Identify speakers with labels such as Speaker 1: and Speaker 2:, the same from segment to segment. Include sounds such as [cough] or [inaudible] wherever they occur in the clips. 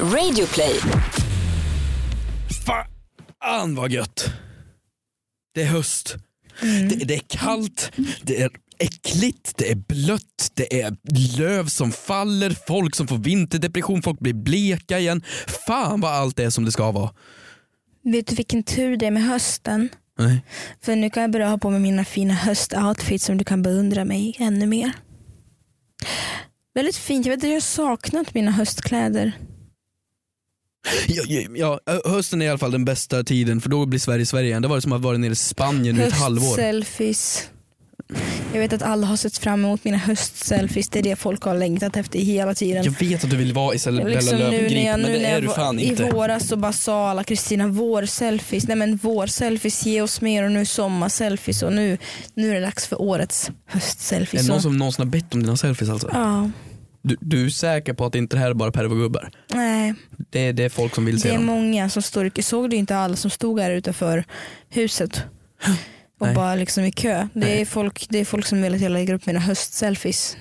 Speaker 1: Radioplay.
Speaker 2: Fan vad gött. Det är höst.
Speaker 3: Mm.
Speaker 2: Det, det är kallt, det är äckligt, det är blött, det är löv som faller, folk som får vinterdepression, folk blir bleka igen. Fan vad allt är som det ska vara.
Speaker 3: Vet du vilken tur det är med hösten?
Speaker 2: Nej.
Speaker 3: För nu kan jag börja ha på mig mina fina höstoutfits som du kan beundra mig i ännu mer. Väldigt fint. Jag vet att jag har saknat mina höstkläder.
Speaker 2: Ja, ja, ja, hösten är i alla fall den bästa tiden för då blir Sverige Sverige igen. Det var det som att vara nere i Spanien i ett halvår.
Speaker 3: eh, Höstselfies. Jag vet att alla har sett fram emot mina höstselfies. Det är det folk har längtat efter hela tiden.
Speaker 2: Jag vet att du vill vara i Bella
Speaker 3: Liksom
Speaker 2: Löwengrip men
Speaker 3: nu
Speaker 2: det är
Speaker 3: jag
Speaker 2: du
Speaker 3: var-
Speaker 2: fan
Speaker 3: I
Speaker 2: inte.
Speaker 3: våras så bara sa alla Kristina vårselfies. Nej men vårselfies, ge oss mer och nu sommarselfies och nu, nu är det dags för årets
Speaker 2: Är
Speaker 3: höstselfies.
Speaker 2: det någon
Speaker 3: Så-
Speaker 2: som någonsin har bett om dina selfies alltså?
Speaker 3: liksom. Ja,
Speaker 2: Du, du är säker på att det inte här är bara pervogubbar?
Speaker 3: nej.
Speaker 2: Det, det är folk som vill se
Speaker 3: Det är
Speaker 2: dem.
Speaker 3: många som står Jag såg du inte alla som stod här utanför
Speaker 2: [gasps]
Speaker 3: huset och
Speaker 2: Nej.
Speaker 3: bara liksom i kö. Det
Speaker 2: Nej.
Speaker 3: är, folk, det är folk som vill att jag lägger upp mina höstselfies.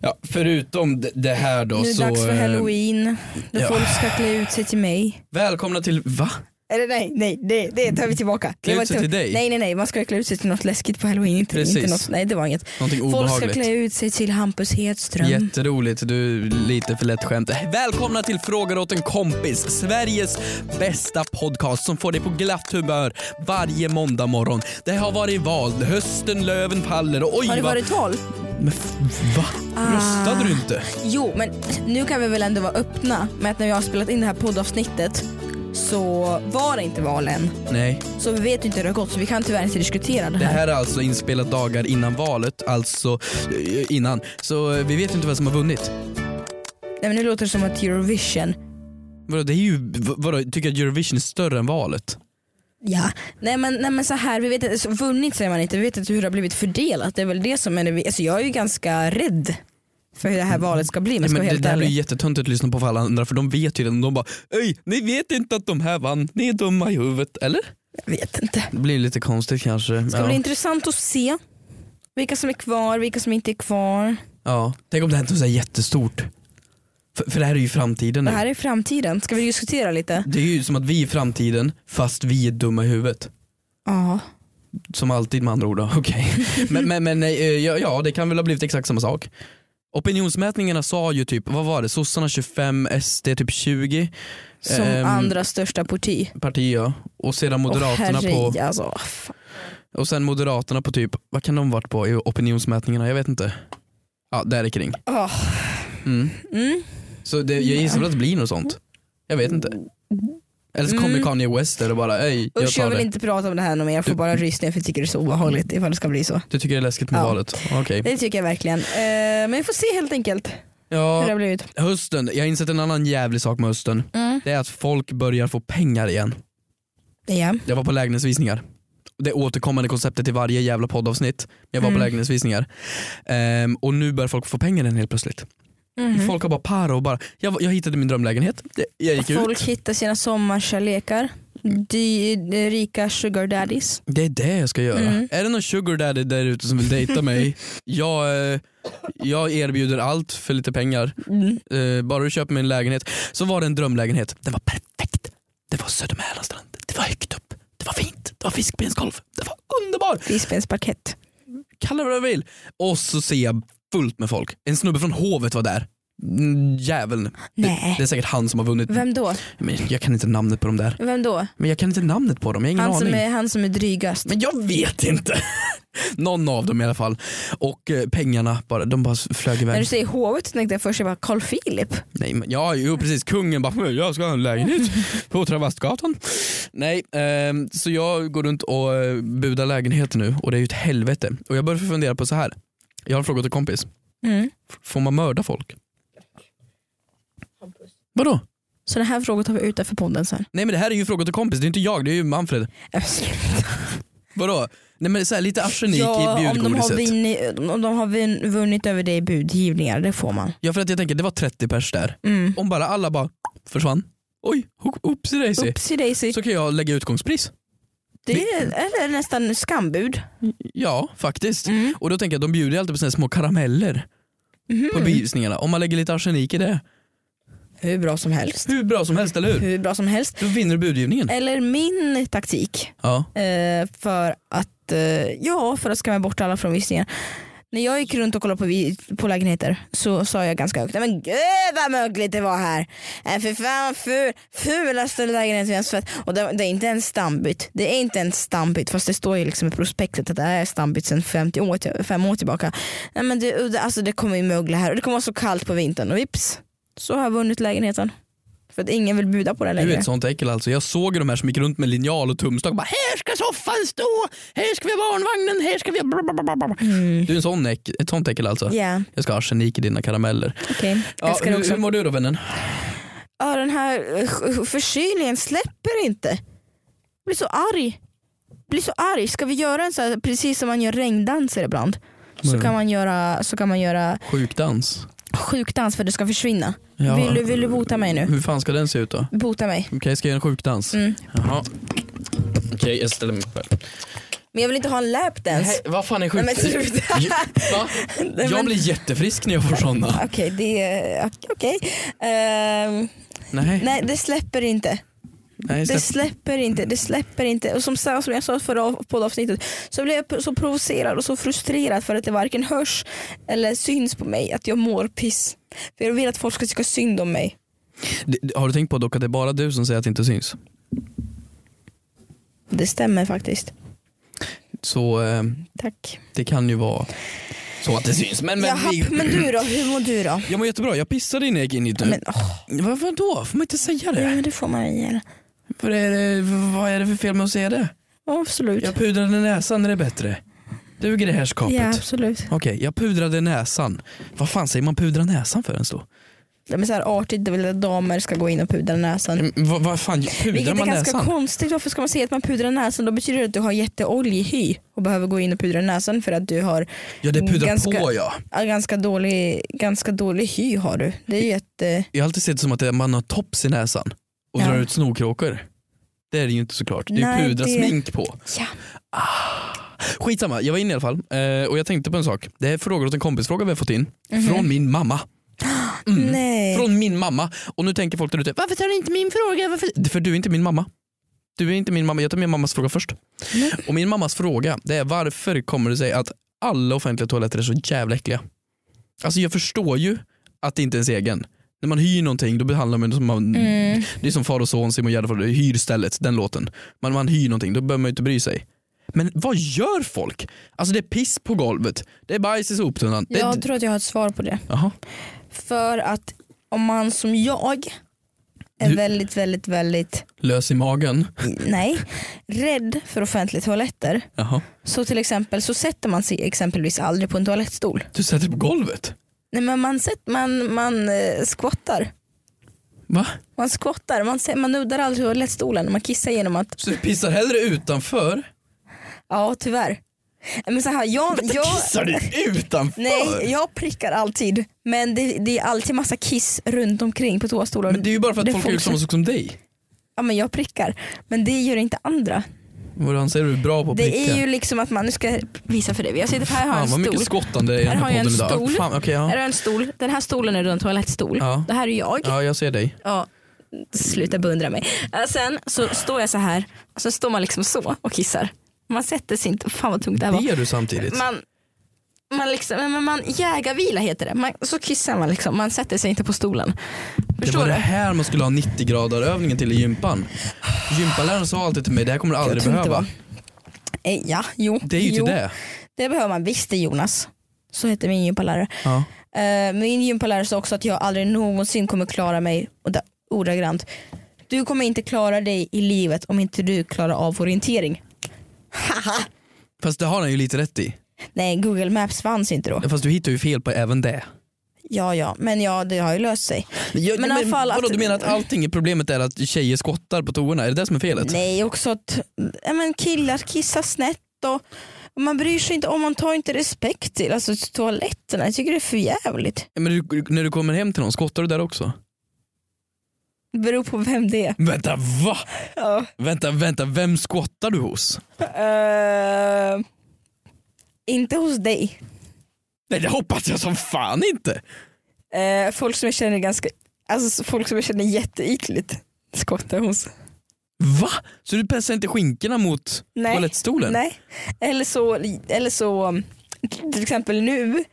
Speaker 2: Ja, förutom d- det här då
Speaker 3: Nu är det
Speaker 2: så...
Speaker 3: dags för
Speaker 2: eh,
Speaker 3: halloween då
Speaker 2: ja.
Speaker 3: folk ska klä ut sig till mig.
Speaker 2: Välkomna till, va?
Speaker 3: Eller nej, nej det, det tar vi tillbaka.
Speaker 2: Klä
Speaker 3: Det var
Speaker 2: ut sig
Speaker 3: inte-
Speaker 2: till dig?
Speaker 3: Nej nej nej, man ska klä ut sig till något läskigt på halloween. Inte, inte
Speaker 2: Precis.
Speaker 3: något, nej det var inget.
Speaker 2: Någonting
Speaker 3: Folk
Speaker 2: obehagligt.
Speaker 3: ska klä ut sig till Hampus Hedström.
Speaker 2: Jätteroligt, du är lite för lätt skämt. Välkomna till Frågar åt en kompis, Sveriges bästa podcast som får dig på glatt humör varje måndag morgon. Det har varit val, hösten, löven faller och oj
Speaker 3: Har det
Speaker 2: vad-
Speaker 3: varit val?
Speaker 2: Men f- va?
Speaker 3: Ah.
Speaker 2: Röstade du inte?
Speaker 3: Jo, men nu kan vi väl ändå vara öppna med att när vi har spelat in det här poddavsnittet så var det inte val än.
Speaker 2: Nej.
Speaker 3: Så vi vet ju inte hur det har gått så vi kan tyvärr inte diskutera det
Speaker 2: Det
Speaker 3: här.
Speaker 2: här är alltså inspelat dagar innan valet, alltså eh, innan. Så eh, vi vet inte vem som har vunnit.
Speaker 3: Nej, men nu låter det som att Eurovision,
Speaker 2: Vadå, det är ju, v- vadå, tycker jag att Eurovision är större än valet?
Speaker 3: ja. Nej men, nej, men så här, vi vet inte, så vunnit säger man inte, vi vet inte hur det har blivit fördelat. Det är väl det som är det, alltså jag är ju ganska rädd för hur det här valet ska bli om jag
Speaker 2: Nej,
Speaker 3: ska
Speaker 2: men
Speaker 3: vara
Speaker 2: det
Speaker 3: helt
Speaker 2: där är ju
Speaker 3: ärlig.
Speaker 2: jättetöntigt att lyssna på för alla andra för de vet ju redan. De bara Öj, ni vet inte att de här vann, ni är dumma i huvudet. Eller?
Speaker 3: Jag vet inte.
Speaker 2: Det blir lite konstigt kanske.
Speaker 3: Det ska
Speaker 2: Ja.
Speaker 3: bli intressant att se vilka som är kvar, vilka som inte är kvar.
Speaker 2: ja. Tänk om det hänt något så här jättestort. För, för det här är ju framtiden
Speaker 3: Det
Speaker 2: nu.
Speaker 3: här är framtiden, ska vi diskutera lite?
Speaker 2: Det är ju som att vi är framtiden fast vi är dumma i huvudet.
Speaker 3: Ja.
Speaker 2: Som alltid med andra ord. då. [laughs] Okej. men men, men eh, ja, ja, det kan väl ha blivit exakt samma sak. Opinionsmätningarna sa ju typ, vad var det, sossarna 25, SD typ 20
Speaker 3: Som
Speaker 2: Ehm,
Speaker 3: andra största parti.
Speaker 2: parti ja. Och sedan
Speaker 3: Åh,
Speaker 2: moderaterna på
Speaker 3: herre, Alltså, fan.
Speaker 2: Och sen Moderaterna på typ, vad kan de varit på i opinionsmätningarna? Jag vet inte. Ja, där kring.
Speaker 3: Åh,
Speaker 2: Mm.
Speaker 3: mm.
Speaker 2: Så det, jag gissar väl att det blir något sånt. Jag vet inte. Eller så kommer
Speaker 3: Mm.
Speaker 2: Kanye West eller bara, ej, jag
Speaker 3: Usch jag
Speaker 2: tar
Speaker 3: vill
Speaker 2: det.
Speaker 3: inte prata om det här någon mer, jag får
Speaker 2: Du-
Speaker 3: bara rysningar för jag tycker det är så obehagligt ifall det ska bli så.
Speaker 2: Du tycker det är läskigt med
Speaker 3: Ja.
Speaker 2: valet? Okej.
Speaker 3: Det tycker jag verkligen. Eh, men vi får se helt enkelt hur det
Speaker 2: Ja,
Speaker 3: har blivit.
Speaker 2: hösten. Jag har insett en annan jävlig sak med hösten.
Speaker 3: Mm.
Speaker 2: Det är att folk börjar få pengar igen.
Speaker 3: Ja.
Speaker 2: Jag var på lägenhetsvisningar. Det återkommande konceptet i varje jävla poddavsnitt. Jag var på
Speaker 3: Mm.
Speaker 2: lägenhetsvisningar. Ehm, och nu börjar folk få pengar igen helt plötsligt.
Speaker 3: Mhm.
Speaker 2: Mm. Folk har bara para och bara, jag, jag hittade min drömlägenhet. Det- Jag gick ut. Mm.
Speaker 3: Folk hittar sina sommarkärlekar. Dy, eh, rika sugar daddies.
Speaker 2: Det är det jag ska göra.
Speaker 3: Mm.
Speaker 2: Är det någon sugar daddy där ute som vill dejta
Speaker 3: [laughs]
Speaker 2: mig? jag, eh, jag erbjuder allt för lite pengar.
Speaker 3: Mm.
Speaker 2: Eh, bara du köper mig en lägenhet. Så var det en drömlägenhet. Den var perfekt. Det var Södermälarstrand. Det var högt upp. Det var fint. Det var fiskbensgolv. Det var underbart.
Speaker 3: Fiskbensparkett.
Speaker 2: Kalla det vad du vill. Och så ser jag fullt med folk. En snubbe från hovet var där. Mm, Jäveln. Det,
Speaker 3: Nej.
Speaker 2: det är säkert han som har vunnit.
Speaker 3: Vem då?
Speaker 2: Men jag kan inte namnet på dem där.
Speaker 3: Vem då?
Speaker 2: Men jag kan inte namnet på dem. Jag har ingen
Speaker 3: Han
Speaker 2: aning.
Speaker 3: som, är, han som är drygast.
Speaker 2: Men jag vet inte. [laughs] Någon av dem i alla fall. Och eh, pengarna, bara, de bara flög
Speaker 3: När du
Speaker 2: iväg.
Speaker 3: säger hovet så tänkte jag först jag bara Carl Philip.
Speaker 2: Nej, men, ja, jo, precis. Kungen bara, jag ska ha en
Speaker 3: [laughs]
Speaker 2: lägenhet på Travastgatan. Nej, ehm, så jag går runt och eh, budar lägenheter nu och det är ju ett helvete. Och jag börjar fundera på så här. Jag har en fråga till en kompis.
Speaker 3: Mm.
Speaker 2: F- Får man mörda folk? Vadå?
Speaker 3: Sådana här frågor tar vi utanför podden sen.
Speaker 2: Nej men det här är ju fråga till kompis, det är inte jag, det är ju Manfred.
Speaker 3: Äh, sluta.
Speaker 2: Vadå? Nej men så här, lite arsenik i
Speaker 3: om de, har
Speaker 2: bjudgodiset.
Speaker 3: vinn, om de har vinn, vunnit över dig i budgivningar, det får man.
Speaker 2: Ja för att jag tänker, det var 30 pers där.
Speaker 3: Mm.
Speaker 2: om bara alla bara försvann. Oj, ho- oopsie daisy.
Speaker 3: Oopsie daisy.
Speaker 2: Så kan jag lägga utgångspris.
Speaker 3: Det är, eller nästan skambud.
Speaker 2: Ja, faktiskt.
Speaker 3: Mm.
Speaker 2: Och då tänker jag, de
Speaker 3: Mhm.
Speaker 2: bjuder ju alltid på såna här små karameller på visningarna. Om man lägger lite arsenik i det.
Speaker 3: hur bra som helst.
Speaker 2: Hur bra som helst, eller hur?
Speaker 3: Hur bra som helst.
Speaker 2: Då vinner du budgivningen.
Speaker 3: Eller min taktik
Speaker 2: Ja.
Speaker 3: eh, för att eh, ja, för att skrämma bort alla från visningar. När jag gick runt och kollade på, vi- på lägenheter så sa jag ganska högt, "Nej, men gud vad mögligt det var här. Äh, för fan vad ful, fulaste lägenheten vi har sett. Och det, det är inte en stambyt. Det är inte en stambyt fast det står ju liksom i prospektet att det här är stambyt sedan 50 år, till- fem år tillbaka. Nej, men det, det- alltså, det kommer ju mögla här och det kommer vara så kallt på vintern och vips så har jag vunnit lägenheten. För att ingen vill buda på den
Speaker 2: Du är
Speaker 3: längre.
Speaker 2: ett sånt äckel alltså. Jag såg ju de här som gick runt med linjal och tumstock. Bara, här ska soffan stå, här ska vi ha barnvagnen, här ska vi ha... blablabla."
Speaker 3: Mm.
Speaker 2: Du är en sån äck, ett sånt äckel alltså.
Speaker 3: Ja,
Speaker 2: Jag ska ha arsenik i dina karameller.
Speaker 3: okej. Jag
Speaker 2: Ja,
Speaker 3: ska
Speaker 2: hur,
Speaker 3: också-
Speaker 2: hur mår du då vännen?
Speaker 3: Ja, den här eh, förkylningen släpper inte. Jag blir så arg. Jag blir så arg. Ska vi göra en så här, precis som man gör regndanser ibland. Så
Speaker 2: Mm.
Speaker 3: kan man göra, så kan man göra
Speaker 2: Sjukdans.
Speaker 3: sjukdans för det ska försvinna.
Speaker 2: Ja.
Speaker 3: Vill, du, vill du bota mig nu?
Speaker 2: Hur fan ska den se ut då?
Speaker 3: Bota mig.
Speaker 2: Okej, ska jag göra en sjukdans?
Speaker 3: Mm.
Speaker 2: Jaha. Okej, jag ställer mig upp här.
Speaker 3: Men jag vill inte ha en lapdance.
Speaker 2: Hej, vad fan är
Speaker 3: Nej
Speaker 2: sjukt?
Speaker 3: men
Speaker 2: [laughs]
Speaker 3: sluta.
Speaker 2: Va?
Speaker 3: men-
Speaker 2: Jag blir jättefrisk när jag får såna.
Speaker 3: Okej, det är okej. Ehm,
Speaker 2: Nej,
Speaker 3: nej, det släpper inte.
Speaker 2: nej
Speaker 3: Det
Speaker 2: släpp.
Speaker 3: släpper inte, det släpper inte. Och som, sa- som jag sa förra poddavsnittet så blev jag så provocerad och så frustrerad för att det varken hörs eller syns på mig att jag mår piss. För jag vill att folk ska tycka synd om mig.
Speaker 2: Det- Har du tänkt på dock att det är bara du som säger att det inte syns?
Speaker 3: Det stämmer faktiskt.
Speaker 2: Så eh,
Speaker 3: Tack.
Speaker 2: det kan ju vara så att det syns. Men, men,
Speaker 3: Jaha,
Speaker 2: vi-
Speaker 3: men du då? Hur mår du då?
Speaker 2: Jag mår jättebra, jag pissade innan jag gick in hit nu.
Speaker 3: Men, åh,
Speaker 2: Varför då? Får man inte säga
Speaker 3: ja,
Speaker 2: det?
Speaker 3: men det får man ihjäl.
Speaker 2: Vad är det, vad är det för fel med att säga det?
Speaker 3: Absolut.
Speaker 2: Jag pudrade näsan, är det bättre? Duger det här skapet?
Speaker 3: Ja absolut.
Speaker 2: Okej, jag pudrade näsan. Vad fan säger man pudra näsan för ens då?
Speaker 3: Ja, men så här artigt det är väl att damer ska gå in och pudra näsan.
Speaker 2: Mm, Vad vad fan, pudrar
Speaker 3: Vilket är
Speaker 2: man
Speaker 3: ganska
Speaker 2: näsan?
Speaker 3: konstigt, varför ska man säga att man pudrar näsan? Då betyder det att du har jätteoljig hy och behöver gå in och pudra näsan för att du har
Speaker 2: Ja det pudrar
Speaker 3: ganska-
Speaker 2: på ja.
Speaker 3: Ja, ganska, dålig, ganska dålig hy har du. Det är eh, jätte...
Speaker 2: Jag har alltid sett det som att det- man har tops i näsan och
Speaker 3: Ja.
Speaker 2: drar ut snorkråkor. Det är det ju inte såklart. Det är
Speaker 3: Nej,
Speaker 2: pudra
Speaker 3: det-
Speaker 2: smink på. Ah.
Speaker 3: Ja.
Speaker 2: Skitsamma, jag var inne i alla fall eh, och jag tänkte på en sak. Det här är frågor åt en kompisfråga vi har fått in.
Speaker 3: Mhm.
Speaker 2: Från min
Speaker 3: [gasps]
Speaker 2: mamma.
Speaker 3: Nej.
Speaker 2: Mm. Från min mamma. Och nu tänker folk där ute, varför tar du inte min fråga? Varför? För du är inte min mamma. Du är inte min mamma, jag tar min mammas fråga först.
Speaker 3: Nej.
Speaker 2: Och min mammas fråga det är varför kommer det sig att alla offentliga toaletter är så jävla äckliga? Alltså jag förstår ju att det inte är ens egen. När man hyr någonting då behandlar man det som man,
Speaker 3: Mm.
Speaker 2: det är som far och son, Simon Gärdenfors, hyr stället, den låten. Man, man hyr någonting, då behöver man ju inte bry sig. Men vad gör folk? Alltså det är piss på golvet, det är bajs i soptunnan. Det,
Speaker 3: Jag tror att jag har ett svar på det.
Speaker 2: Jaha.
Speaker 3: För att om man som jag är
Speaker 2: Du-
Speaker 3: väldigt, väldigt, väldigt,
Speaker 2: Lös i magen.
Speaker 3: nej, rädd för offentliga toaletter.
Speaker 2: Jaha.
Speaker 3: Så till exempel så sätter man sig exempelvis aldrig på en toalettstol.
Speaker 2: Du sätter dig på golvet?
Speaker 3: Nej men man, sätt, man, man eh, squattar.
Speaker 2: Va?
Speaker 3: Man squattar, man, sä- man nuddar aldrig toalettstolen. Man kissar genom att
Speaker 2: Så du pissar hellre utanför?
Speaker 3: Ja, tyvärr. Men så här, jag,
Speaker 2: Vänta,
Speaker 3: jag,
Speaker 2: Kissar du utanför?
Speaker 3: nej, jag prickar alltid. Men det, det är alltid massa kiss runt omkring på toastolen.
Speaker 2: Men det är ju bara för att
Speaker 3: Det
Speaker 2: folk
Speaker 3: får
Speaker 2: har gjort
Speaker 3: vi-
Speaker 2: samma sak som dig.
Speaker 3: Ja, men jag prickar. Men det gör inte andra.
Speaker 2: Vad anser du är bra på att pricka?
Speaker 3: Det är ju liksom att man, nu ska jag visa för dig. Jag sitter här och har
Speaker 2: Fan vad
Speaker 3: en
Speaker 2: mycket
Speaker 3: stol.
Speaker 2: skottande i den
Speaker 3: Här har jag
Speaker 2: här
Speaker 3: en
Speaker 2: podden idag.
Speaker 3: stol.
Speaker 2: Fan, okej,
Speaker 3: Här har
Speaker 2: ja.
Speaker 3: jag en stol. Den här stolen är en toalettstol.
Speaker 2: Ja.
Speaker 3: Det här är jag.
Speaker 2: ja, jag ser dig.
Speaker 3: Ja, sluta beundra mig. Äh, Sen så står jag så här och så står man liksom så och kissar. Man sätter sig inte, fan vad tungt det här var.
Speaker 2: Det gör du samtidigt.
Speaker 3: man, man, liksom, men man jägarvila heter det. Man, så kissar man liksom, man sätter sig inte på stolen.
Speaker 2: det
Speaker 3: Förstår
Speaker 2: var det
Speaker 3: du?
Speaker 2: här man skulle ha 90 grader övningen till i gympan. Gympaläraren sa alltid till mig, det här kommer du aldrig
Speaker 3: tror inte
Speaker 2: behöva.
Speaker 3: det Eh, Ja, jo.
Speaker 2: Det är ju
Speaker 3: jo,
Speaker 2: till det.
Speaker 3: Det behöver man visst det Jonas. Så heter min gympalärare.
Speaker 2: Ja.
Speaker 3: Eh, min gympalärare sa också att jag aldrig någonsin kommer klara mig och det- ordagrant. Du kommer inte klara dig i livet om inte du klarar av orientering. Haha.
Speaker 2: Fast det har han ju lite rätt i.
Speaker 3: Nej Google Maps fanns inte då.
Speaker 2: Fast du hittar ju fel på även det.
Speaker 3: Ja ja, men ja det har ju löst sig.
Speaker 2: Men, jag,
Speaker 3: Men i
Speaker 2: men,
Speaker 3: alla fall
Speaker 2: vadå,
Speaker 3: att-
Speaker 2: du menar att allting i problemet är att tjejer skottar på toorna? Är det det som är felet?
Speaker 3: Nej, också att ja, men killar kissar snett och och man bryr sig inte om man tar inte respekt till alltså, till toaletterna. Jag tycker det är för jävligt.
Speaker 2: Ja, Men du, när du kommer hem till någon, skottar du där också?
Speaker 3: Det beror på vem det är.
Speaker 2: Vänta va?
Speaker 3: Ja.
Speaker 2: Vänta, vänta, vem skottar du hos?
Speaker 3: Eh, inte hos dig.
Speaker 2: Nej det hoppas jag som fan inte.
Speaker 3: Eh, folk som jag känner är ganska Alltså folk som jag känner jätteytligt skottar hos.
Speaker 2: Va? Så du pressar inte skinkorna mot
Speaker 3: Nej.
Speaker 2: toalettstolen?
Speaker 3: Nej. Eller så, eller så um, till exempel nu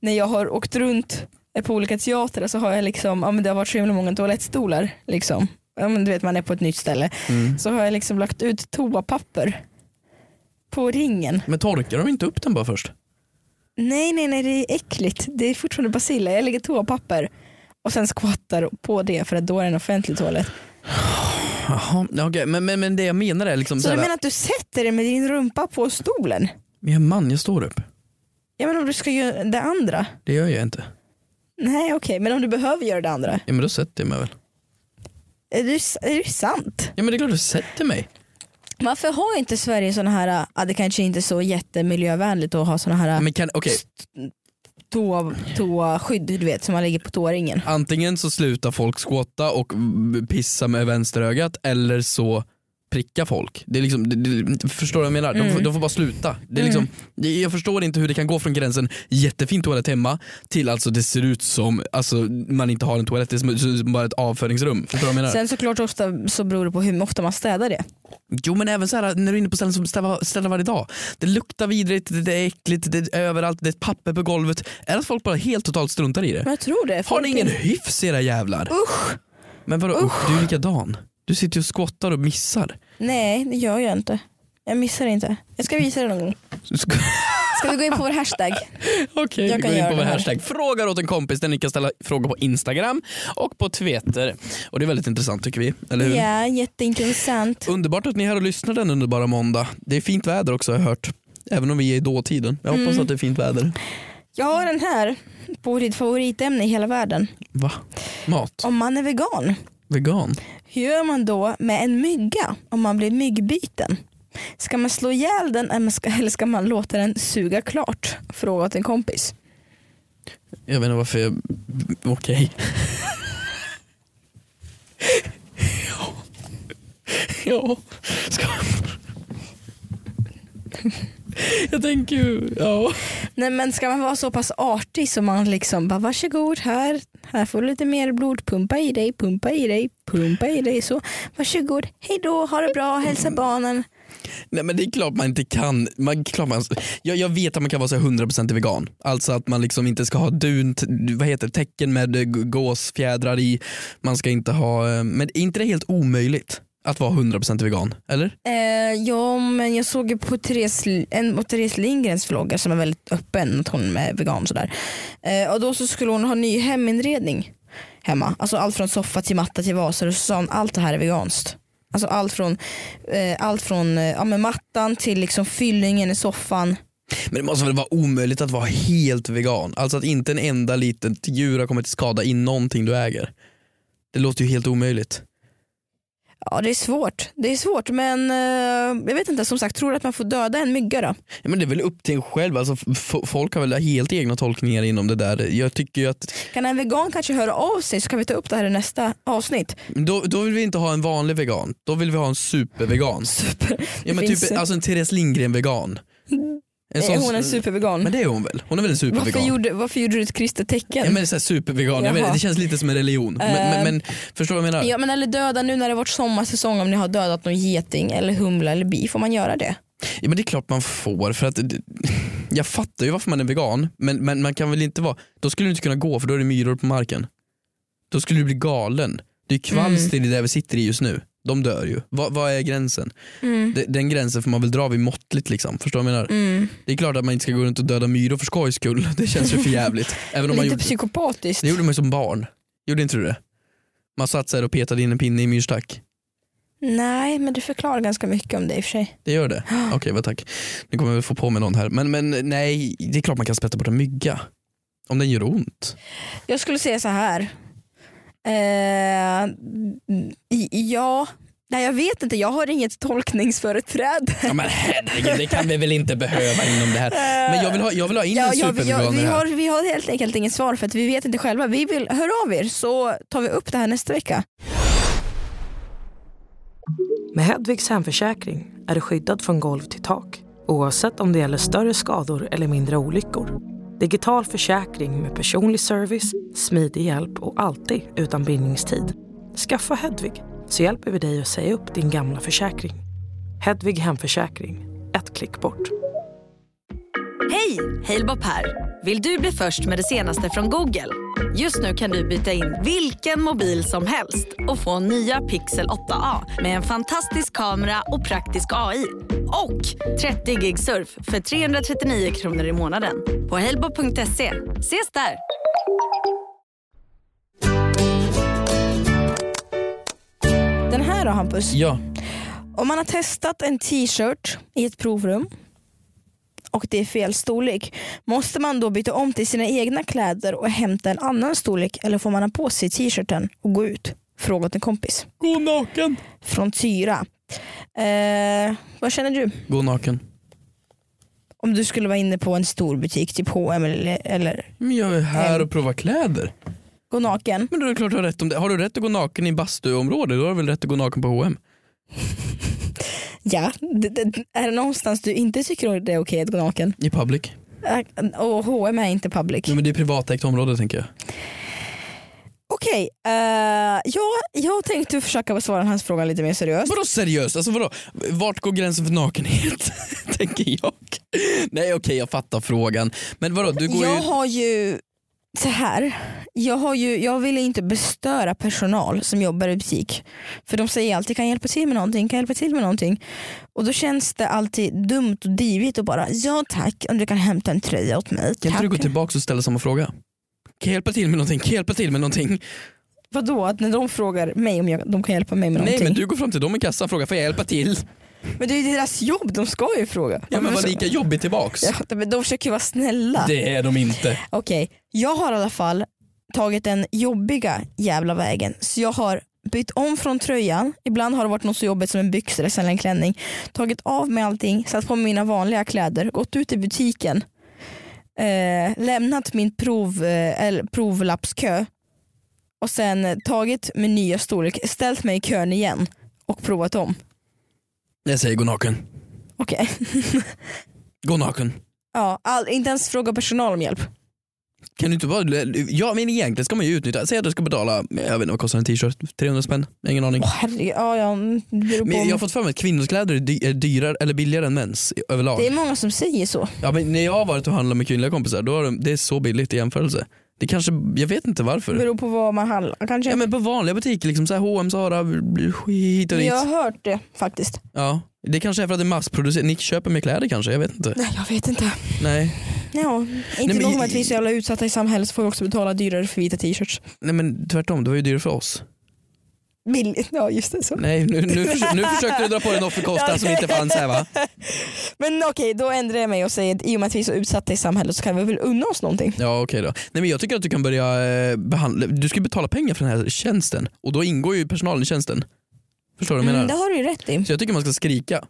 Speaker 3: när jag har åkt runt på olika teatrar så har jag liksom, ja men det har varit så himla många toalettstolar liksom. Ja men du vet man är på ett nytt ställe.
Speaker 2: Mm.
Speaker 3: Så har jag liksom lagt ut toapapper på ringen.
Speaker 2: Men torkar de inte upp den bara först?
Speaker 3: Nej nej nej det är äckligt. Det är fortfarande baciller. Jag lägger toapapper och sen skvattar på det för att då är det en offentlig toalett.
Speaker 2: Jaha, ja, okej. men, men, men det jag menar är liksom
Speaker 3: Så
Speaker 2: så
Speaker 3: du
Speaker 2: här,
Speaker 3: menar att du sätter dig med din rumpa på stolen?
Speaker 2: ja, man jag står upp.
Speaker 3: Ja men om du ska göra det andra?
Speaker 2: Det gör jag inte.
Speaker 3: Nej okej, men om du behöver göra det andra?
Speaker 2: Ja men då sätter jag mig väl.
Speaker 3: Är det, är det sant?
Speaker 2: Ja men det är klart du sätter mig.
Speaker 3: Varför har inte Sverige sådana här, ja det kanske inte är så jättemiljövänligt att ha sådana här äh,
Speaker 2: Men kan, okej,
Speaker 3: toa, toaskydd du vet som man lägger på toaringen.
Speaker 2: antingen så slutar folk skotta och mm, pissa med vänsterögat eller så pricka folk. Det är liksom, det, det, förstår du vad jag menar? De, får,
Speaker 3: Mm.
Speaker 2: de får bara sluta. Det är liksom, det, jag förstår inte hur det kan gå från gränsen jättefin toalett hemma till alltså det ser ut som alltså, man inte har en toalett, det är som, som bara ett avföringsrum. Förstår du vad jag menar?
Speaker 3: Sen såklart ofta så beror det på hur ofta man städar det.
Speaker 2: Jo men även så här när du är inne på ställen som städar, städar varje dag. Det luktar vidrigt, det det är äckligt, det är överallt, det är ett papper på golvet. Är det att folk bara helt totalt struntar i det?
Speaker 3: Men jag tror det.
Speaker 2: Har
Speaker 3: folk
Speaker 2: ni ingen
Speaker 3: är-
Speaker 2: hyfs era jävlar?
Speaker 3: Usch!
Speaker 2: Men vadå usch, du är likadan. Du sitter ju och skottar och missar.
Speaker 3: Nej det gör jag inte. Jag missar det inte. Jag ska visa dig någon gång.
Speaker 2: Ska-
Speaker 3: Ska vi gå in på vår [laughs] hashtag?
Speaker 2: Okej,
Speaker 3: [laughs] Jag
Speaker 2: vi går
Speaker 3: kan
Speaker 2: in
Speaker 3: göra
Speaker 2: på vår
Speaker 3: det här.
Speaker 2: hashtag frågar åt en kompis där ni kan ställa frågor på Instagram och på Twitter. Och det är väldigt intressant tycker vi, eller hur?
Speaker 3: Ja, jätteintressant.
Speaker 2: Underbart att ni är här och lyssnar den underbara måndag. Det är fint väder också har jag hört. Även om vi är i dåtiden. Jag hoppas
Speaker 3: Mm.
Speaker 2: att det är fint väder.
Speaker 3: Jag har den här på ditt favoritämne i hela världen.
Speaker 2: Va? Mat?
Speaker 3: Om man är vegan,
Speaker 2: Vegan?
Speaker 3: hur gör man då med en mygga om man blir myggbiten? Ska man slå ihjäl den eller ska, eller ska man låta den suga klart? Fråga åt en kompis.
Speaker 2: Jag vet inte varför jag... Okej. ja. Ska... jag tänker ju... Ja.
Speaker 3: Nej men ska man vara så pass artig som man liksom bara varsågod här, här får du lite mer blod, pumpa i dig, pumpa i dig, pumpa i dig så. Varsågod, hej då, ha det bra, hälsa barnen.
Speaker 2: Nej men det är klart man inte kan. Man, klart man, jag, jag vet att man kan vara så här 100% vegan. Alltså att man liksom inte ska ha dunt, vad heter det, tecken med eh, g- gåsfjädrar i. Man ska inte ha... eh, Men är inte det helt omöjligt att vara 100% vegan? Eller?
Speaker 3: Eh, ja men jag såg ju på Therese, en på Therese Lindgrens vloggar som är väldigt öppen att hon är vegan och sådär. Eh, och då så skulle hon ha ny heminredning hemma. Alltså allt från soffa till matta till vaser och så sa hon allt det här är veganskt. Alltså allt från, eh, allt från eh, ja, men mattan till liksom fyllningen i soffan.
Speaker 2: Men det måste väl vara omöjligt att vara helt vegan? Alltså att inte en enda liten djur har kommit till skada i någonting du äger. Det låter ju helt omöjligt.
Speaker 3: Ja det är svårt. Det är svårt men eh, jag vet inte som sagt tror du att man får döda en mygga då?
Speaker 2: Ja, men det är väl upp till en själv, alltså, f- f- folk har väl helt egna tolkningar inom det där. Jag tycker ju att
Speaker 3: Kan en vegan kanske höra av sig så kan vi ta upp det här i nästa avsnitt.
Speaker 2: då, då vill vi inte ha en vanlig vegan, då vill vi ha en supervegan.
Speaker 3: Super.
Speaker 2: Ja, men
Speaker 3: finns-
Speaker 2: typ, alltså en Therese Lindgren-vegan. En
Speaker 3: är Eh, hon en supervegan?
Speaker 2: Men det är hon väl? Hon är väl en supervegan?
Speaker 3: Varför gjorde, varför gjorde du ett kristet tecken?
Speaker 2: Ja, men det är så här supervegan, jag vet,
Speaker 3: Jaha.
Speaker 2: det känns lite som en religion. Men, men,
Speaker 3: Eh.
Speaker 2: men förstår du vad jag menar?
Speaker 3: eller döda nu när det varit sommarsäsong om ni har dödat någon geting eller humla eller bi, får man göra det?
Speaker 2: Ja men det är klart man får för att det- jag fattar ju varför man är vegan men, men man kan väl inte vara, då skulle du inte kunna gå för då är det myror på marken. Då skulle du bli galen. Det är kvalster i det där vi sitter i just nu. De dör ju. Vad, vad är gränsen?
Speaker 3: Mm.
Speaker 2: De, den gränsen får man väl dra vid måttligt liksom. Förstår du vad jag menar?
Speaker 3: Mm.
Speaker 2: Det är klart att man inte ska gå runt och döda myror för skojs skull. Det känns ju för jävligt. Även om
Speaker 3: Lite
Speaker 2: man gjorde,
Speaker 3: psykopatiskt.
Speaker 2: det gjorde man ju som barn. Gjorde inte du det? Man satt så här och petade in en pinne i en myrstack.
Speaker 3: Nej, men du förklarar ganska mycket om det i och för sig.
Speaker 2: Det gör [gasps] det? Okej, vad tack. Nu kommer jag väl få på mig någon här. Men, men nej, det är klart man kan spetta bort en mygga. Om den gör ont.
Speaker 3: Jag skulle säga så här. Eh, i- ja, nej jag vet inte, jag har inget tolkningsföreträde.
Speaker 2: Ja, men herregud, det kan vi väl inte behöva inom det här. Men jag vill ha, jag vill ha in
Speaker 3: Ja,
Speaker 2: en
Speaker 3: ja, vi, ja,
Speaker 2: supervegan i
Speaker 3: vi,
Speaker 2: det här.
Speaker 3: har, vi har helt enkelt inget svar för att vi vet inte själva. Vi vill höra av er så tar vi upp det här nästa vecka.
Speaker 1: Med Hedvigs hemförsäkring är du skyddad från golv till tak oavsett om det gäller större skador eller mindre olyckor. Digital försäkring med personlig service, smidig hjälp och alltid utan bindningstid. Skaffa Hedvig så hjälper vi dig att säga upp din gamla försäkring. Hedvig Hemförsäkring, ett klick bort.
Speaker 4: Hej! Halebop här. Vill du bli först med det senaste från Google? Just nu kan du byta in vilken mobil som helst och få nya Pixel 8A med en fantastisk kamera och praktisk AI. Och 30 gig surf för 339 kronor i månaden på halebop.se. Ses där!
Speaker 3: Den här då Hampus.
Speaker 2: Ja.
Speaker 3: Om man har testat en t-shirt i ett provrum och det är fel storlek, måste man då byta om till sina egna kläder och hämta en annan storlek eller får man ha på sig t-shirten och gå ut? Fråga åt en kompis.
Speaker 2: Gå naken.
Speaker 3: Från Tyra. Eh, vad känner du?
Speaker 2: Gå naken.
Speaker 3: Om du skulle vara inne på en stor butik, typ H&M eller, eller
Speaker 2: Men jag är här
Speaker 3: Mm.
Speaker 2: och provar kläder.
Speaker 3: gå naken.
Speaker 2: Men då är det klart du har rätt om det. Har du rätt att gå naken i bastuområde, då har du väl rätt att gå naken på H&M
Speaker 3: Ja, det, det, är det någonstans du inte tycker det är okej att gå naken?
Speaker 2: I public.
Speaker 3: Eh, Och H&M är inte public.
Speaker 2: Ja, men det är privatägt område tänker jag.
Speaker 3: Okej, eh, ja, jag tänkte försöka besvara hans fråga lite mer seriöst.
Speaker 2: Vadå seriöst? Alltså vadå? Vart går gränsen för nakenhet? [laughs] tänker jag. Nej okej jag fattar frågan. Men vadå du går
Speaker 3: Jag
Speaker 2: ju...
Speaker 3: har ju så här. Jag, har ju, jag vill inte bestöra personal som jobbar i butik. För de säger alltid kan jag hjälpa till med någonting, kan jag hjälpa till med någonting. Och då känns det alltid dumt och divigt och bara ja tack om du kan hämta en tröja åt mig.
Speaker 2: Kan
Speaker 3: tack.
Speaker 2: inte du gå tillbaka och ställa samma fråga? Kan jag hjälpa till med någonting? Kan jag hjälpa till med någonting?
Speaker 3: Vadå att när de frågar mig om jag, de kan hjälpa mig med
Speaker 2: Nej
Speaker 3: någonting.
Speaker 2: men du går fram till dem i kassan och frågar får jag hjälpa till?
Speaker 3: Men det är ju deras jobb, de ska ju fråga.
Speaker 2: Ja men var lika jobbig tillbaks.
Speaker 3: alltså- Ja, men de försöker ju vara snälla.
Speaker 2: Det är de inte.
Speaker 3: Okej, jag har i alla fall tagit den jobbiga jävla vägen. Så jag har bytt om från tröjan, ibland har det varit något så jobbigt som en byxdress eller en klänning. Tagit av mig allting, satt på mig mina vanliga kläder, gått ut i butiken. Eh, lämnat min prov, eh, eller provlappskö och sen eh, tagit min nya storlek, ställt mig i kön igen och provat om.
Speaker 2: Jag säger gå naken.
Speaker 3: Okej. [laughs]
Speaker 2: Gå naken.
Speaker 3: ja, all, inte ens fråga personal om hjälp.
Speaker 2: Kan du inte bara... Ja men egentligen ska man ju utnyttja. Säg att du ska betala, jag vet inte vad kostar en t-shirt? 300 spänn? Ingen aning.
Speaker 3: Åh, herregud, ja, ja, det beror på
Speaker 2: Men jag har
Speaker 3: om-
Speaker 2: fått för mig att kvinnors kläder är dy- är dyrare eller billigare än mäns i- överlag.
Speaker 3: Det är många som säger så.
Speaker 2: Ja, men när jag har varit och handlat med kvinnliga kompisar, då har de, det är så billigt i jämförelse. Det kanske, jag vet inte varför.
Speaker 3: Beror på vad man handlar kanske.
Speaker 2: Ja, men på vanliga butiker, liksom, så här H&M, Zara, hit och dit.
Speaker 3: jag
Speaker 2: Ja.
Speaker 3: har hört det faktiskt.
Speaker 2: Det kanske är för att det är massproducerat, ni köper mer kläder kanske, jag vet inte.
Speaker 3: Nej jag vet inte.
Speaker 2: Nej,
Speaker 3: Ja, inte
Speaker 2: men
Speaker 3: nog
Speaker 2: i-
Speaker 3: med att vi är så jävla utsatta i samhället så får vi också betala dyrare för vita t-shirts.
Speaker 2: Nej men tvärtom, det var ju dyrare för oss.
Speaker 3: Billigt, ja just det. Så.
Speaker 2: Nej, nu, nu, förs- nu försökte du dra på en offerkostnad som inte fanns här va?
Speaker 3: Men okej, då ändrar jag mig och säger att i och med att vi är så utsatta i samhället så kan vi väl unna oss någonting.
Speaker 2: Ja okej då. Nej men jag tycker att du kan börja eh, behandla, du ska betala pengar för den här tjänsten och då ingår ju personalen i tjänsten. Förstår du vad jag menar?
Speaker 3: Mm, det har du ju rätt i.
Speaker 2: Så jag tycker man ska skrika.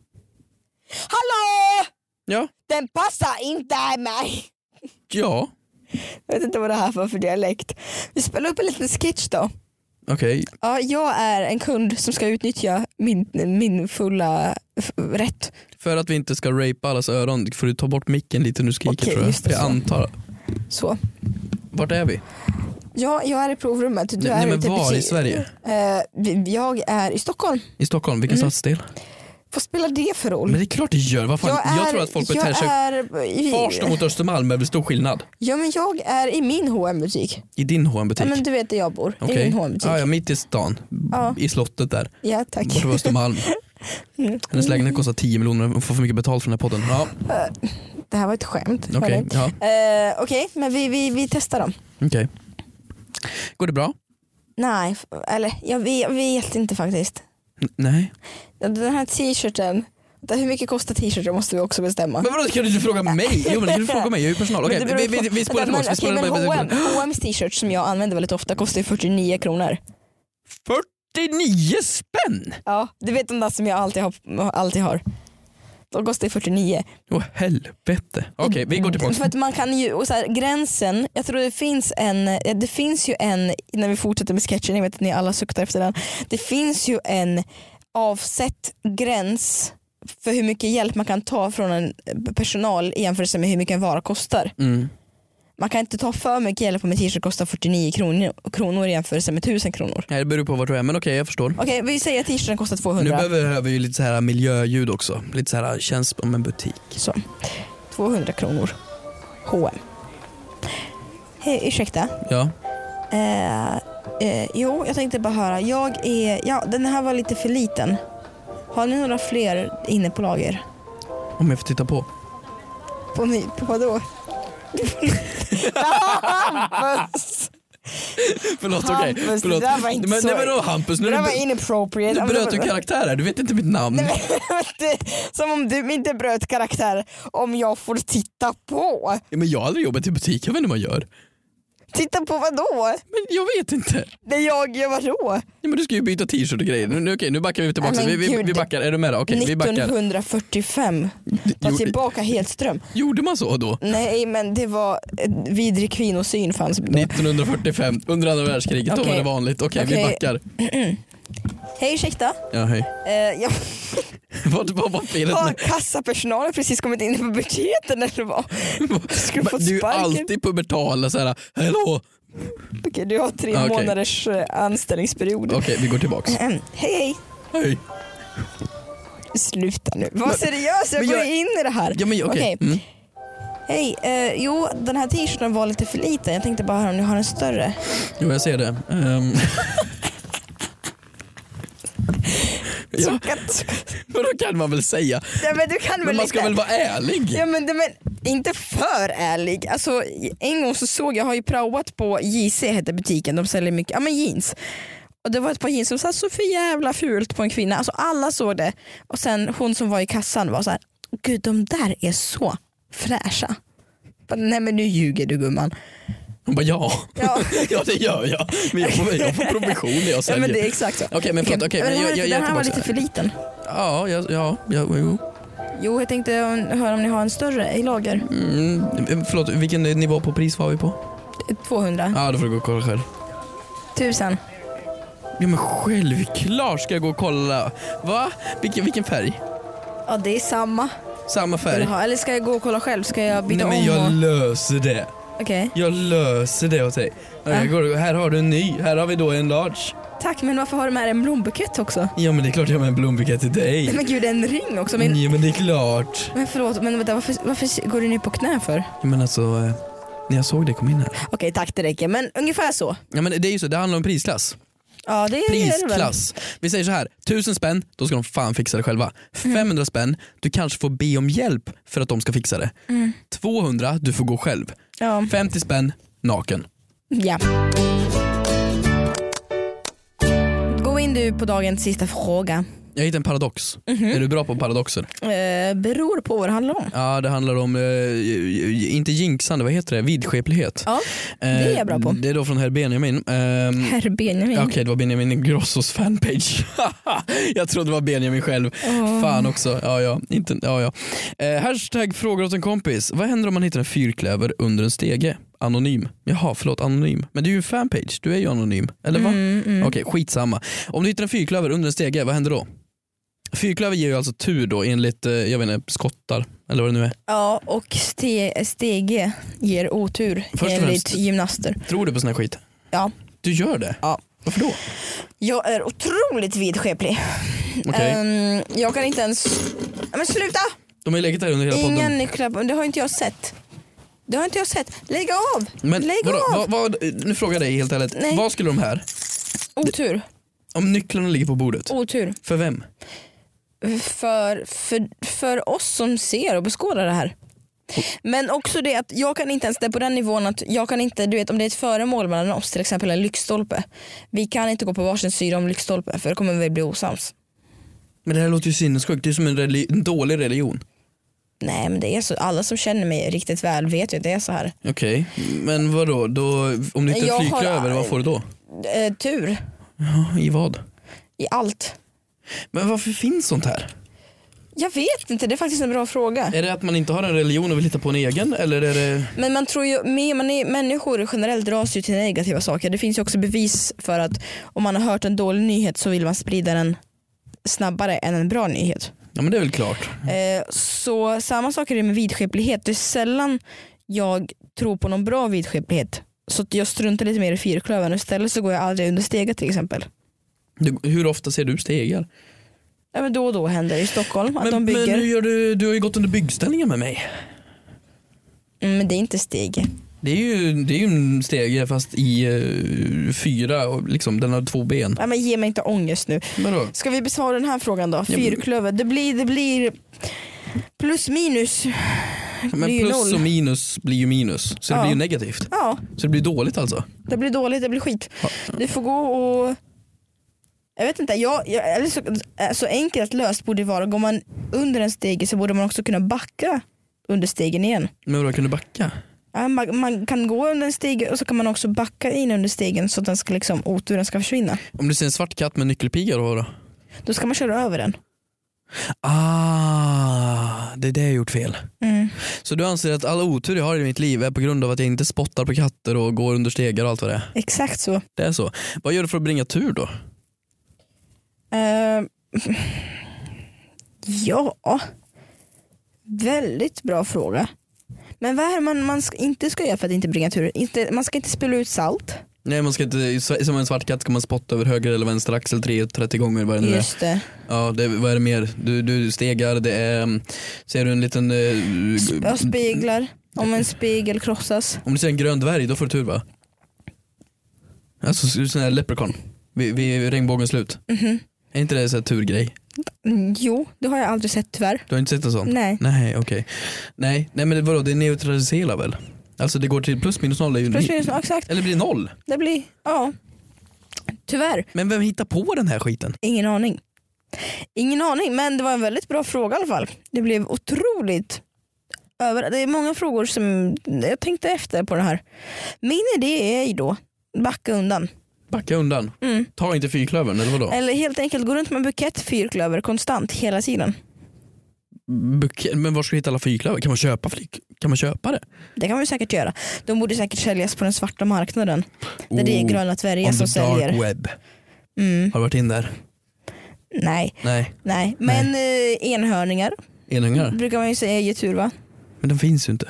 Speaker 3: Hallå!
Speaker 2: Ja,
Speaker 3: Den passar inte mig!
Speaker 2: ja,
Speaker 3: Jag vet inte vad det här var för dialekt. Vi spelar upp en liten sketch då.
Speaker 2: okej.
Speaker 3: Ja, jag är en kund som ska utnyttja min, min fulla f- rätt.
Speaker 2: För att vi inte ska rapa allas öron får du ta bort micken lite nu skriker
Speaker 3: Okej,
Speaker 2: tror jag.
Speaker 3: just det,
Speaker 2: jag
Speaker 3: så.
Speaker 2: antar.
Speaker 3: Så.
Speaker 2: Vart är vi?
Speaker 3: Ja, jag är i provrummet. Du
Speaker 2: Nej,
Speaker 3: är
Speaker 2: nej, men
Speaker 3: ute i
Speaker 2: var i
Speaker 3: precis-
Speaker 2: Sverige?
Speaker 3: Eh, vi- jag är i Stockholm.
Speaker 2: I Stockholm, vilken
Speaker 3: Mm.
Speaker 2: stadsdel?
Speaker 3: Vad spelar det för roll?
Speaker 2: Men det är klart det gör, vad fan? Jag, tror att folk beter sig...
Speaker 3: är, i-
Speaker 2: Farsta mot Östermalm är väl stor skillnad?
Speaker 3: Ja men jag är i min hm butik
Speaker 2: I din hm
Speaker 3: Ja,
Speaker 2: butik
Speaker 3: men du vet där jag bor. I
Speaker 2: Okej,
Speaker 3: min hm butik
Speaker 2: ja,
Speaker 3: ja,
Speaker 2: ja, mitt i stan.
Speaker 3: Ja.
Speaker 2: I slottet där.
Speaker 3: tack.
Speaker 2: Borta på Östermalm.
Speaker 3: Mm.
Speaker 2: Hennes lägenhet kostar 10 miljoner, hon får för mycket betalt för den här podden. Ja,
Speaker 3: [laughs] Det här var ett skämt.
Speaker 2: okej.
Speaker 3: hörni.
Speaker 2: ja,
Speaker 3: Eh, Okej, men vi, vi, vi testar dem.
Speaker 2: okej. Går det bra?
Speaker 3: Nej, f- eller jag vet, jag vet inte faktiskt.
Speaker 2: N- nej.
Speaker 3: Den här t-shirten, vänta, hur mycket kostar t-shirten måste vi också bestämma.
Speaker 2: Men vadå, kan du inte fråga mig? Jo men kan du fråga mig, jag är ju personal. Okej,
Speaker 3: Men det beror
Speaker 2: vi, vi,
Speaker 3: på-
Speaker 2: vi spolar tillbaka.
Speaker 3: Vänta,
Speaker 2: vi
Speaker 3: men,
Speaker 2: spolar
Speaker 3: okej,
Speaker 2: tillbaka.
Speaker 3: men H&M, H&M's t-shirt som jag använder väldigt ofta kostar ju 49 kronor.
Speaker 2: 49 spänn!
Speaker 3: Ja, du vet de där som jag alltid har. Alltid har. De kostar 49.
Speaker 2: Åh helvete. Okej, vi går
Speaker 3: För
Speaker 2: tillbaka.
Speaker 3: att man kan ju, och så här, gränsen, jag tror det finns en, det finns ju en, när vi fortsätter med sketchen, jag vet att ni alla suktar efter den. Det finns ju en avsett gräns för hur mycket hjälp man kan ta från en personal i jämförelse med hur mycket en vara kostar.
Speaker 2: Mm.
Speaker 3: Man kan inte ta för mycket hjälp om en t-shirt kostar 49 kronor, kronor i jämförelse med 1000 kronor.
Speaker 2: Nej, det beror på vart du är, men okej jag förstår.
Speaker 3: Okej vi säger att t-shirten kostar
Speaker 2: Nu
Speaker 3: 200.
Speaker 2: behöver vi ju lite så här miljöljud också. Lite så här känns som en butik.
Speaker 3: Så. 200 kronor. H&M. Hej, ursäkta.
Speaker 2: Ja.
Speaker 3: Eh, eh, jo, jag tänkte bara höra. Jag är, ja, den här var lite för liten. Har ni några fler inne på lager?
Speaker 2: Om jag får titta på.
Speaker 3: På, ny, på [laughs] vadå? Hampus!
Speaker 2: [laughs] Förlåt okej.
Speaker 3: Hampus,
Speaker 2: Förlåt.
Speaker 3: det där var inte
Speaker 2: men,
Speaker 3: så-
Speaker 2: Nej men då Hampus, nu,
Speaker 3: Det där var
Speaker 2: nu,
Speaker 3: inappropriate.
Speaker 2: nu bröt du karaktär här. Du vet inte mitt namn.
Speaker 3: [laughs] Det- Som om du inte bröt karaktär om jag får titta på.
Speaker 2: Ja, Men jag har aldrig jobbat i butik, jag vet inte hur man gör.
Speaker 3: Titta på vadå?
Speaker 2: Men jag vet inte.
Speaker 3: När jag gör vadå?
Speaker 2: Ja, men du ska ju byta t-shirt och grejer. Nu, nu, okej, nu backar vi tillbaka.
Speaker 3: Nej,
Speaker 2: Vi,
Speaker 3: men
Speaker 2: vi,
Speaker 3: gud.
Speaker 2: vi backar, är du med då? Okej, vi backar.
Speaker 3: 1945. Ta
Speaker 2: Jo,
Speaker 3: tillbaka Hedström.
Speaker 2: gjorde man så då?
Speaker 3: Nej men det var eh, vidrig kvinnosyn fanns.
Speaker 2: 1945, under andra världskriget, då var
Speaker 3: Okej.
Speaker 2: det vanligt. Okej, vi
Speaker 3: Okej.
Speaker 2: backar.
Speaker 3: Hej ursäkta.
Speaker 2: Ja, hej. [laughs]
Speaker 3: Eh, jag
Speaker 2: Vad vad var felet?
Speaker 3: har kassapersonalen precis kommit in i puberteten eller vad? [laughs] Ska du
Speaker 2: [laughs]
Speaker 3: få
Speaker 2: Du är
Speaker 3: sparken?
Speaker 2: alltid pubertala såhär, hallå!
Speaker 3: Okej, du har tre
Speaker 2: Ja, Ah, okej.
Speaker 3: månaders eh, anställningsperiod.
Speaker 2: Okej, vi går tillbaks.
Speaker 3: Hej hej.
Speaker 2: Hej.
Speaker 3: Sluta nu. Var
Speaker 2: Men-
Speaker 3: seriös, jag
Speaker 2: men
Speaker 3: går
Speaker 2: jag-
Speaker 3: in i det här.
Speaker 2: Ja, men, okej.
Speaker 3: Okej.
Speaker 2: Mm.
Speaker 3: Hej, eh, jo den här t-shirten var lite för liten. Jag tänkte bara höra om ni har en större.
Speaker 2: Jo, jag ser det. Ehm. [laughs] ja,
Speaker 3: Så kan-
Speaker 2: men då kan man väl säga.
Speaker 3: Ja, men du kan väl
Speaker 2: Men man ska
Speaker 3: lite.
Speaker 2: väl vara ärlig?
Speaker 3: Ja men, det- men inte för ärlig. Alltså, en gång så såg jag, jag har ju praoat på JC heter butiken, de säljer mycket ja, men jeans. Och Det var ett par jeans som satt så för jävla fult på en kvinna. Alltså, alla såg det. Och sen hon som var i kassan var så här, gud de där är så fräscha. Bara, Nej men nu ljuger du gumman.
Speaker 2: Hon bara ja.
Speaker 3: Ja.
Speaker 2: [laughs] Ja. det gör jag. Men jag får, jag får provision när jag
Speaker 3: Ja,
Speaker 2: säljer.
Speaker 3: men det är exakt så.
Speaker 2: Okej men förlåt, okej,
Speaker 3: men
Speaker 2: men
Speaker 3: den här,
Speaker 2: jag, jag, jag
Speaker 3: den här var
Speaker 2: tillbaka.
Speaker 3: lite för liten.
Speaker 2: Ja, ja, ja, ja jo.
Speaker 3: Jo jag tänkte höra om ni har en större i lager.
Speaker 2: Mm, förlåt, vilken nivå på pris var vi på?
Speaker 3: 200.
Speaker 2: Ja, då får du gå och kolla själv.
Speaker 3: 1000.
Speaker 2: Ja men självklart ska jag gå och kolla. Va? Vilken, vilken färg?
Speaker 3: Ja det är samma.
Speaker 2: Samma
Speaker 3: Vill
Speaker 2: färg?
Speaker 3: du ha? Eller ska jag gå och kolla själv? Ska jag byta
Speaker 2: Nej men
Speaker 3: om?
Speaker 2: jag
Speaker 3: och...
Speaker 2: löser det.
Speaker 3: Okej.
Speaker 2: Jag löser det åt dig. Ja,
Speaker 3: Äh?
Speaker 2: jag går, här har du en ny, här har vi då en large.
Speaker 3: Tack, men varför har de här en blombukett också?
Speaker 2: Ja men det är klart jag har en blombukett till
Speaker 3: Nej
Speaker 2: dig.
Speaker 3: men gud, en ring också. Men,
Speaker 2: Ja men det är klart.
Speaker 3: men förlåt, men vänta, varför, varför går du ner på knä för?
Speaker 2: Ja, men alltså, eh, när jag såg dig kom in här.
Speaker 3: Okej, tack det räcker. Men ungefär så.
Speaker 2: Ja men det är ju så, det handlar om prisklass.
Speaker 3: Ja, det är det väl.
Speaker 2: prisklass. Vi säger så här, 1000 spänn, då ska de fan fixa det själva.
Speaker 3: Mm.
Speaker 2: 500 spänn, du kanske får be om hjälp för att de ska fixa det.
Speaker 3: Mm.
Speaker 2: 200, du får gå själv.
Speaker 3: Ja.
Speaker 2: 50 spänn, naken.
Speaker 3: ja. Gå in du på dagens sista fråga.
Speaker 2: Jag hittade en paradox.
Speaker 3: Mhm.
Speaker 2: Är du bra på paradoxer?
Speaker 3: Eh, beror på vad det handlar om.
Speaker 2: Ja, det handlar om, eh, j- j- inte jinxande, vad heter det? Vidskeplighet.
Speaker 3: Ja, det är jag bra på.
Speaker 2: Eh, Det är då från herr Benjamin. Ehm,
Speaker 3: Herr Benjamin.
Speaker 2: Ja, Okej, det var Benjamin Grossos fanpage. [laughs] jag trodde det var Benjamin själv. Fan också. Ja, ja. Inte, ja, ja. Eh, hashtag frågar åt en kompis. Vad händer om man hittar en fyrklöver under en stege? Anonym. Jaha, förlåt anonym. Men du är ju en fanpage, du är ju anonym. Eller va?
Speaker 3: Mm,
Speaker 2: Okej, skitsamma. Om du hittar en fyrklöver under en stege, vad händer då? Fyrklöver ger ju alltså tur då enligt, eh, jag vet inte, skottar eller vad det nu är.
Speaker 3: Ja, och ste- stege ger otur
Speaker 2: och
Speaker 3: enligt
Speaker 2: främst-
Speaker 3: gymnaster.
Speaker 2: Tror du på sån här skit?
Speaker 3: Ja.
Speaker 2: Du gör det?
Speaker 3: Ja.
Speaker 2: Varför då?
Speaker 3: Jag är otroligt vidskeplig.
Speaker 2: Okej,
Speaker 3: Ehm, jag kan inte ens... Men sluta!
Speaker 2: de har ju legat där under hela podden.
Speaker 3: Ingen nyckelknapp, det har inte jag sett. Det har inte jag sett. Lägg av!
Speaker 2: Men
Speaker 3: Lägg
Speaker 2: vadå,
Speaker 3: av!
Speaker 2: vad, vad, nu frågar jag dig helt ärligt,
Speaker 3: Nej.
Speaker 2: vad skulle de här,
Speaker 3: Otur.
Speaker 2: om nycklarna ligger på bordet,
Speaker 3: Otur.
Speaker 2: för vem?
Speaker 3: För, för, för oss som ser och beskådar det här. Men också det att jag kan inte ens, det är på den nivån att jag kan inte, du vet om det är ett föremål mellan oss, till exempel en lyktstolpe. Vi kan inte gå på varsin syra om lyktstolpen för då kommer vi bli osams.
Speaker 2: Men det här låter ju sinnessjukt, det är som en, reli- en dålig religion.
Speaker 3: Nej men det är så, alla som känner mig riktigt väl vet ju att det är så här.
Speaker 2: Okej, men vadå, då, om du
Speaker 3: Jag
Speaker 2: inte
Speaker 3: har-
Speaker 2: flyger över, vad får du då?
Speaker 3: Eh, tur
Speaker 2: Ja, I vad?
Speaker 3: i allt.
Speaker 2: Men varför finns sånt här?
Speaker 3: Jag vet inte, det är faktiskt en bra fråga.
Speaker 2: Är det att man inte har en religion och vill hitta på en egen? Eller är det...
Speaker 3: Men man tror ju, men- man är, människor generellt dras ju till negativa saker. Det finns ju också bevis för att om man har hört en dålig nyhet så vill man sprida den snabbare än en bra nyhet.
Speaker 2: Ja men det är väl klart.
Speaker 3: Eh, så samma sak är det med vidskeplighet. Det är sällan jag tro på någon bra vidskeplighet. Så att jag struntar lite mer i fyrklövern. Istället så går jag aldrig under stegar till exempel.
Speaker 2: Du, hur ofta ser du stegar?
Speaker 3: Ja, men då och då händer det i Stockholm att de
Speaker 2: Men,
Speaker 3: bygger.
Speaker 2: men
Speaker 3: Men,
Speaker 2: hur gör du, du har ju gått under byggställningen med mig.
Speaker 3: mm, men det är inte steg.
Speaker 2: Det är ju, det är ju en stege fast i eh, fyra, och liksom, den har två ben.
Speaker 3: Ja, men ge mig inte ångest nu.
Speaker 2: Vadå?
Speaker 3: Ska vi besvara den här frågan då?
Speaker 2: men-
Speaker 3: Fyrklöver. Det blir, det blir plus minus.
Speaker 2: Men
Speaker 3: Det är ju
Speaker 2: plus
Speaker 3: noll.
Speaker 2: och minus blir ju minus, så det
Speaker 3: Ja.
Speaker 2: blir ju negativt.
Speaker 3: Ja,
Speaker 2: Så det blir dåligt alltså.
Speaker 3: det blir dåligt, det blir skit.
Speaker 2: Ja.
Speaker 3: Du får gå och... Jag vet inte, jag, jag, eller så, så enkelt löst borde det vara. Går man under en stege så borde man också kunna backa under stegen igen.
Speaker 2: Men vadå, kan du backa?
Speaker 3: Ja, man, man kan gå under en stege och så kan man också backa in under stegen så att den ska liksom, oturen ska försvinna.
Speaker 2: Om du ser en svart katt med nyckelpiga då? då?
Speaker 3: Då ska man köra över den.
Speaker 2: Ah, det är det jag gjort fel.
Speaker 3: Mm.
Speaker 2: Så du anser att all otur jag har i mitt liv är på grund av att jag inte spottar på katter och går under stegar och allt vad det är?
Speaker 3: Exakt så.
Speaker 2: Det är så. Vad gör du för att bringa tur då?
Speaker 3: Eh, ja, väldigt bra fråga. Men vad är det man, man ska, inte ska göra för att inte bringa tur? Inte, man ska inte spela ut salt.
Speaker 2: Nej man ska inte, som en svart katt ska man spotta över höger eller vänster axel 3 30 gånger vad det nu är.
Speaker 3: Just det.
Speaker 2: Ja, det, vad är det mer? Du, du stegar, det är, mm, ser du en liten, eh,
Speaker 3: Sp- ja, speglar. Om en spegel krossas.
Speaker 2: om du ser en grön dvärg då får du tur va? Alltså sån här leprechaun, vid, vid regnbågens slut.
Speaker 3: Mhm.
Speaker 2: Är inte det så här turgrej?
Speaker 3: Mm, jo, det har jag aldrig sett tyvärr.
Speaker 2: Du har inte sett en sån?
Speaker 3: Nej.
Speaker 2: Nej okej. Nej, nej men det, vadå, det neutraliserar väl? Alltså det går till plus minus noll. Är ju
Speaker 3: Plus minus, ja, exakt.
Speaker 2: Eller blir det noll?
Speaker 3: Det blir, ja. Tyvärr,
Speaker 2: Men vem hittar på den här skiten?
Speaker 3: ingen aning. Ingen aning, men det var en väldigt bra fråga i alla fall. Det blev otroligt över... Det är många frågor som jag tänkte efter på det här. Min idé är ju då, backa undan.
Speaker 2: Backa undan.
Speaker 3: Mm.
Speaker 2: Ta inte fyrklövern eller vadå?
Speaker 3: Eller helt enkelt gå runt med en bukett fyrklöver konstant hela tiden.
Speaker 2: Buke- men var ska du hitta alla fyrklöver? Kan man köpa flyg? Kan man köpa det?
Speaker 3: Det kan man ju säkert göra. De borde säkert säljas på den svarta marknaden. Där det är
Speaker 2: Oh,
Speaker 3: gröna dvärgar
Speaker 2: on the
Speaker 3: som säljer.
Speaker 2: dark web.
Speaker 3: Mm,
Speaker 2: Har du varit in där?
Speaker 3: nej,
Speaker 2: Nej.
Speaker 3: nej. Men eh, enhörningar
Speaker 2: Enungar?
Speaker 3: brukar man ju säga ger tur va?
Speaker 2: Men den finns ju inte.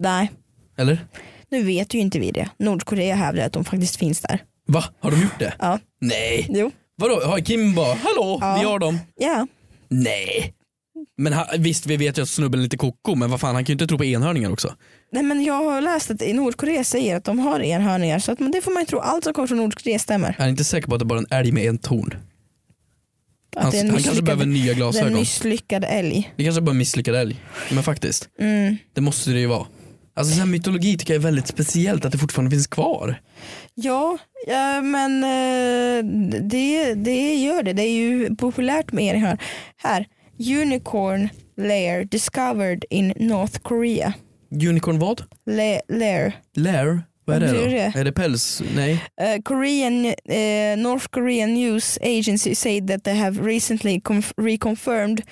Speaker 3: Nej,
Speaker 2: Eller?
Speaker 3: nu vet ju inte vi det. Nordkorea hävdar att de faktiskt finns där.
Speaker 2: Va? Har de gjort det?
Speaker 3: Ja,
Speaker 2: Nej.
Speaker 3: jo.
Speaker 2: Vadå? Har Kim bara, hallå,
Speaker 3: Ja.
Speaker 2: vi har dem.
Speaker 3: Ja,
Speaker 2: Nej. Men ha, visst, vi vet ju att snubben är lite koko, men vad fan, han kan ju inte tro på enhörningar också.
Speaker 3: nej men jag har läst att i Nordkorea säger att de har enhörningar så att, men det får man ju tro. Allt som kommer från Nordkorea stämmer.
Speaker 2: Jag är inte säker på att det är bara är en älg med en torn.
Speaker 3: Att
Speaker 2: Han,
Speaker 3: det är
Speaker 2: Alltså, han
Speaker 3: en
Speaker 2: kanske behöver
Speaker 3: misslyckad,
Speaker 2: nya
Speaker 3: det är en
Speaker 2: glasögon.
Speaker 3: misslyckad älg.
Speaker 2: Det kanske bara är en misslyckad älg. Men faktiskt,
Speaker 3: Mm.
Speaker 2: det måste det ju vara. Alltså sån här mytologi tycker jag är väldigt speciellt att det fortfarande finns kvar.
Speaker 3: Ja, ja men eh, det, det gör det. Det är ju populärt med enhörningar. Här, unicorn lair discovered in North Korea.
Speaker 2: Unicorn vad?
Speaker 3: Le- lair.
Speaker 2: Lair? Vad är det
Speaker 3: Vad
Speaker 2: då?
Speaker 3: blir det?
Speaker 2: Är det päls? Nej.
Speaker 3: Uh, Korean, uh, North Korean news agency say that they have recently conf- reconfirmed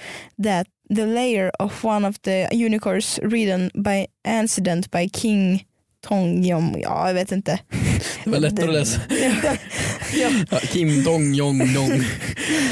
Speaker 3: that the layer of one of the unicorns ridden by accident by King Tongyom. Ja, jag
Speaker 2: [laughs]
Speaker 3: vet inte.
Speaker 2: Det var lätt att
Speaker 3: [laughs]
Speaker 2: läsa. Ja, Kim Dong Jong Dong.
Speaker 3: [laughs]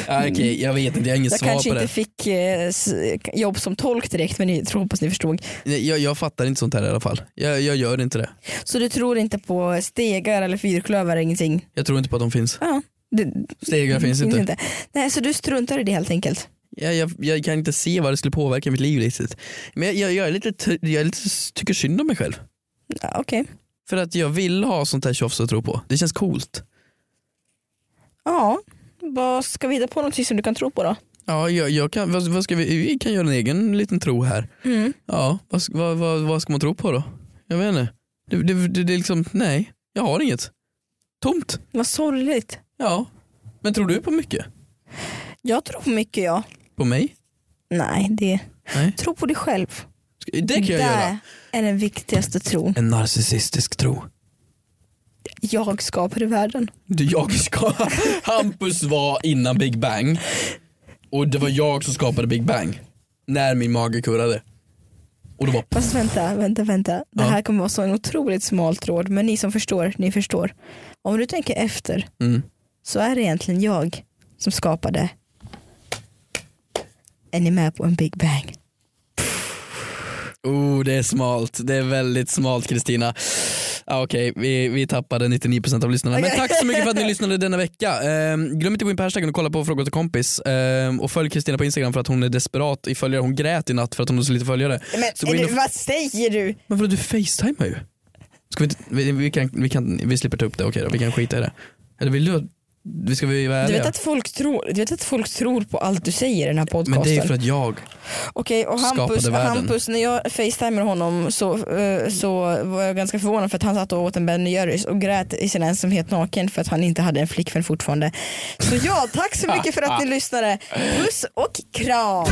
Speaker 2: Ja, Okej, jag vet inte, jag har inget
Speaker 3: Jag
Speaker 2: svar
Speaker 3: kanske
Speaker 2: på
Speaker 3: inte
Speaker 2: det.
Speaker 3: fick eh, s- jobb som tolk direkt men jag tror, hoppas ni förstod.
Speaker 2: Nej, Jag, jag fattar inte sånt här i alla fall. Jag, jag gör inte det.
Speaker 3: Så du tror inte på stegar eller fyrklövar ingenting?
Speaker 2: Jag tror inte på att de finns.
Speaker 3: Ja, det
Speaker 2: Stegar finns
Speaker 3: finns
Speaker 2: inte.
Speaker 3: inte. Nej, så du struntar i det helt enkelt?
Speaker 2: Jag, jag, jag kan inte se vad det skulle påverka mitt liv riktigt. Men jag, jag, jag, är lite, t- jag är lite, tycker synd om mig själv.
Speaker 3: Ja, Okej.
Speaker 2: För att jag vill ha sånt här tjofs att tro på. Det känns coolt.
Speaker 3: Ja, vad ska vi hitta på någonting som du kan tro på då?
Speaker 2: Ja, jag, jag kan, vad, vad ska vi, vi kan göra en egen liten tro här. Ja, vad, sk- vad, vad, vad ska man tro på då? Jag vet inte. Det, det, det, det är liksom, nej, jag har inget. Tomt.
Speaker 3: Vad sorgligt.
Speaker 2: Ja. Men tror du på mycket?
Speaker 3: Jag tror på mycket jag.
Speaker 2: På mig?
Speaker 3: Nej, det...
Speaker 2: Nej.
Speaker 3: Tro på dig själv.
Speaker 2: Ska- Det kan jag göra.
Speaker 3: är den viktigaste tron.
Speaker 2: En narcissistisk tro.
Speaker 3: Jag skapade världen.
Speaker 2: Du, Jag ska... Hampus var innan Big Bang och det var jag som skapade Big Bang när min mage kurrade. Och det var
Speaker 3: Fast vänta, vänta, vänta. Det
Speaker 2: Ja.
Speaker 3: här kommer vara så en otroligt smal tråd, men ni som förstår, ni förstår. Om du tänker efter
Speaker 2: Mm.
Speaker 3: så är det egentligen jag som skapade. Är ni med på en Big Bang?
Speaker 2: Oh, det är smalt. Det är väldigt smalt Kristina. Ah, Okej, vi, vi tappade 99% av lyssnarna. Men tack så mycket för att ni lyssnade denna vecka. Ehm, glöm inte att gå in på hashtaggen och kolla på Fråga till kompis. Ehm, och följ Kristina på Instagram för att hon är desperat i följare. Hon grät i natt för att hon har så lite följare. så gå
Speaker 5: Men
Speaker 2: in
Speaker 5: du,
Speaker 2: och...
Speaker 5: vad säger du?
Speaker 2: Men vadå, du facetimar ju. Ska vi, inte, vi, vi, kan, vi, kan, vi slipper ta upp det, okej då. Vi kan skita i det. Eller vill du att- vi ska vi vara
Speaker 3: Du
Speaker 2: ärliga?
Speaker 3: vet, att folk tror, du vet att folk tror på allt du säger i den här
Speaker 2: Men
Speaker 3: podcasten?
Speaker 2: det är ju för att jag
Speaker 3: Okej, och Hampus,
Speaker 2: skapade världen.
Speaker 3: Hampus, när jag facetimade honom så, eh, så var jag ganska förvånad för att han satt och åt en Ben Jerrys och grät i sin ensamhet naken för att han inte hade en
Speaker 2: [laughs]
Speaker 3: flickvän fortfarande. Så ja, tack så mycket för att ni lyssnade. Puss och kram!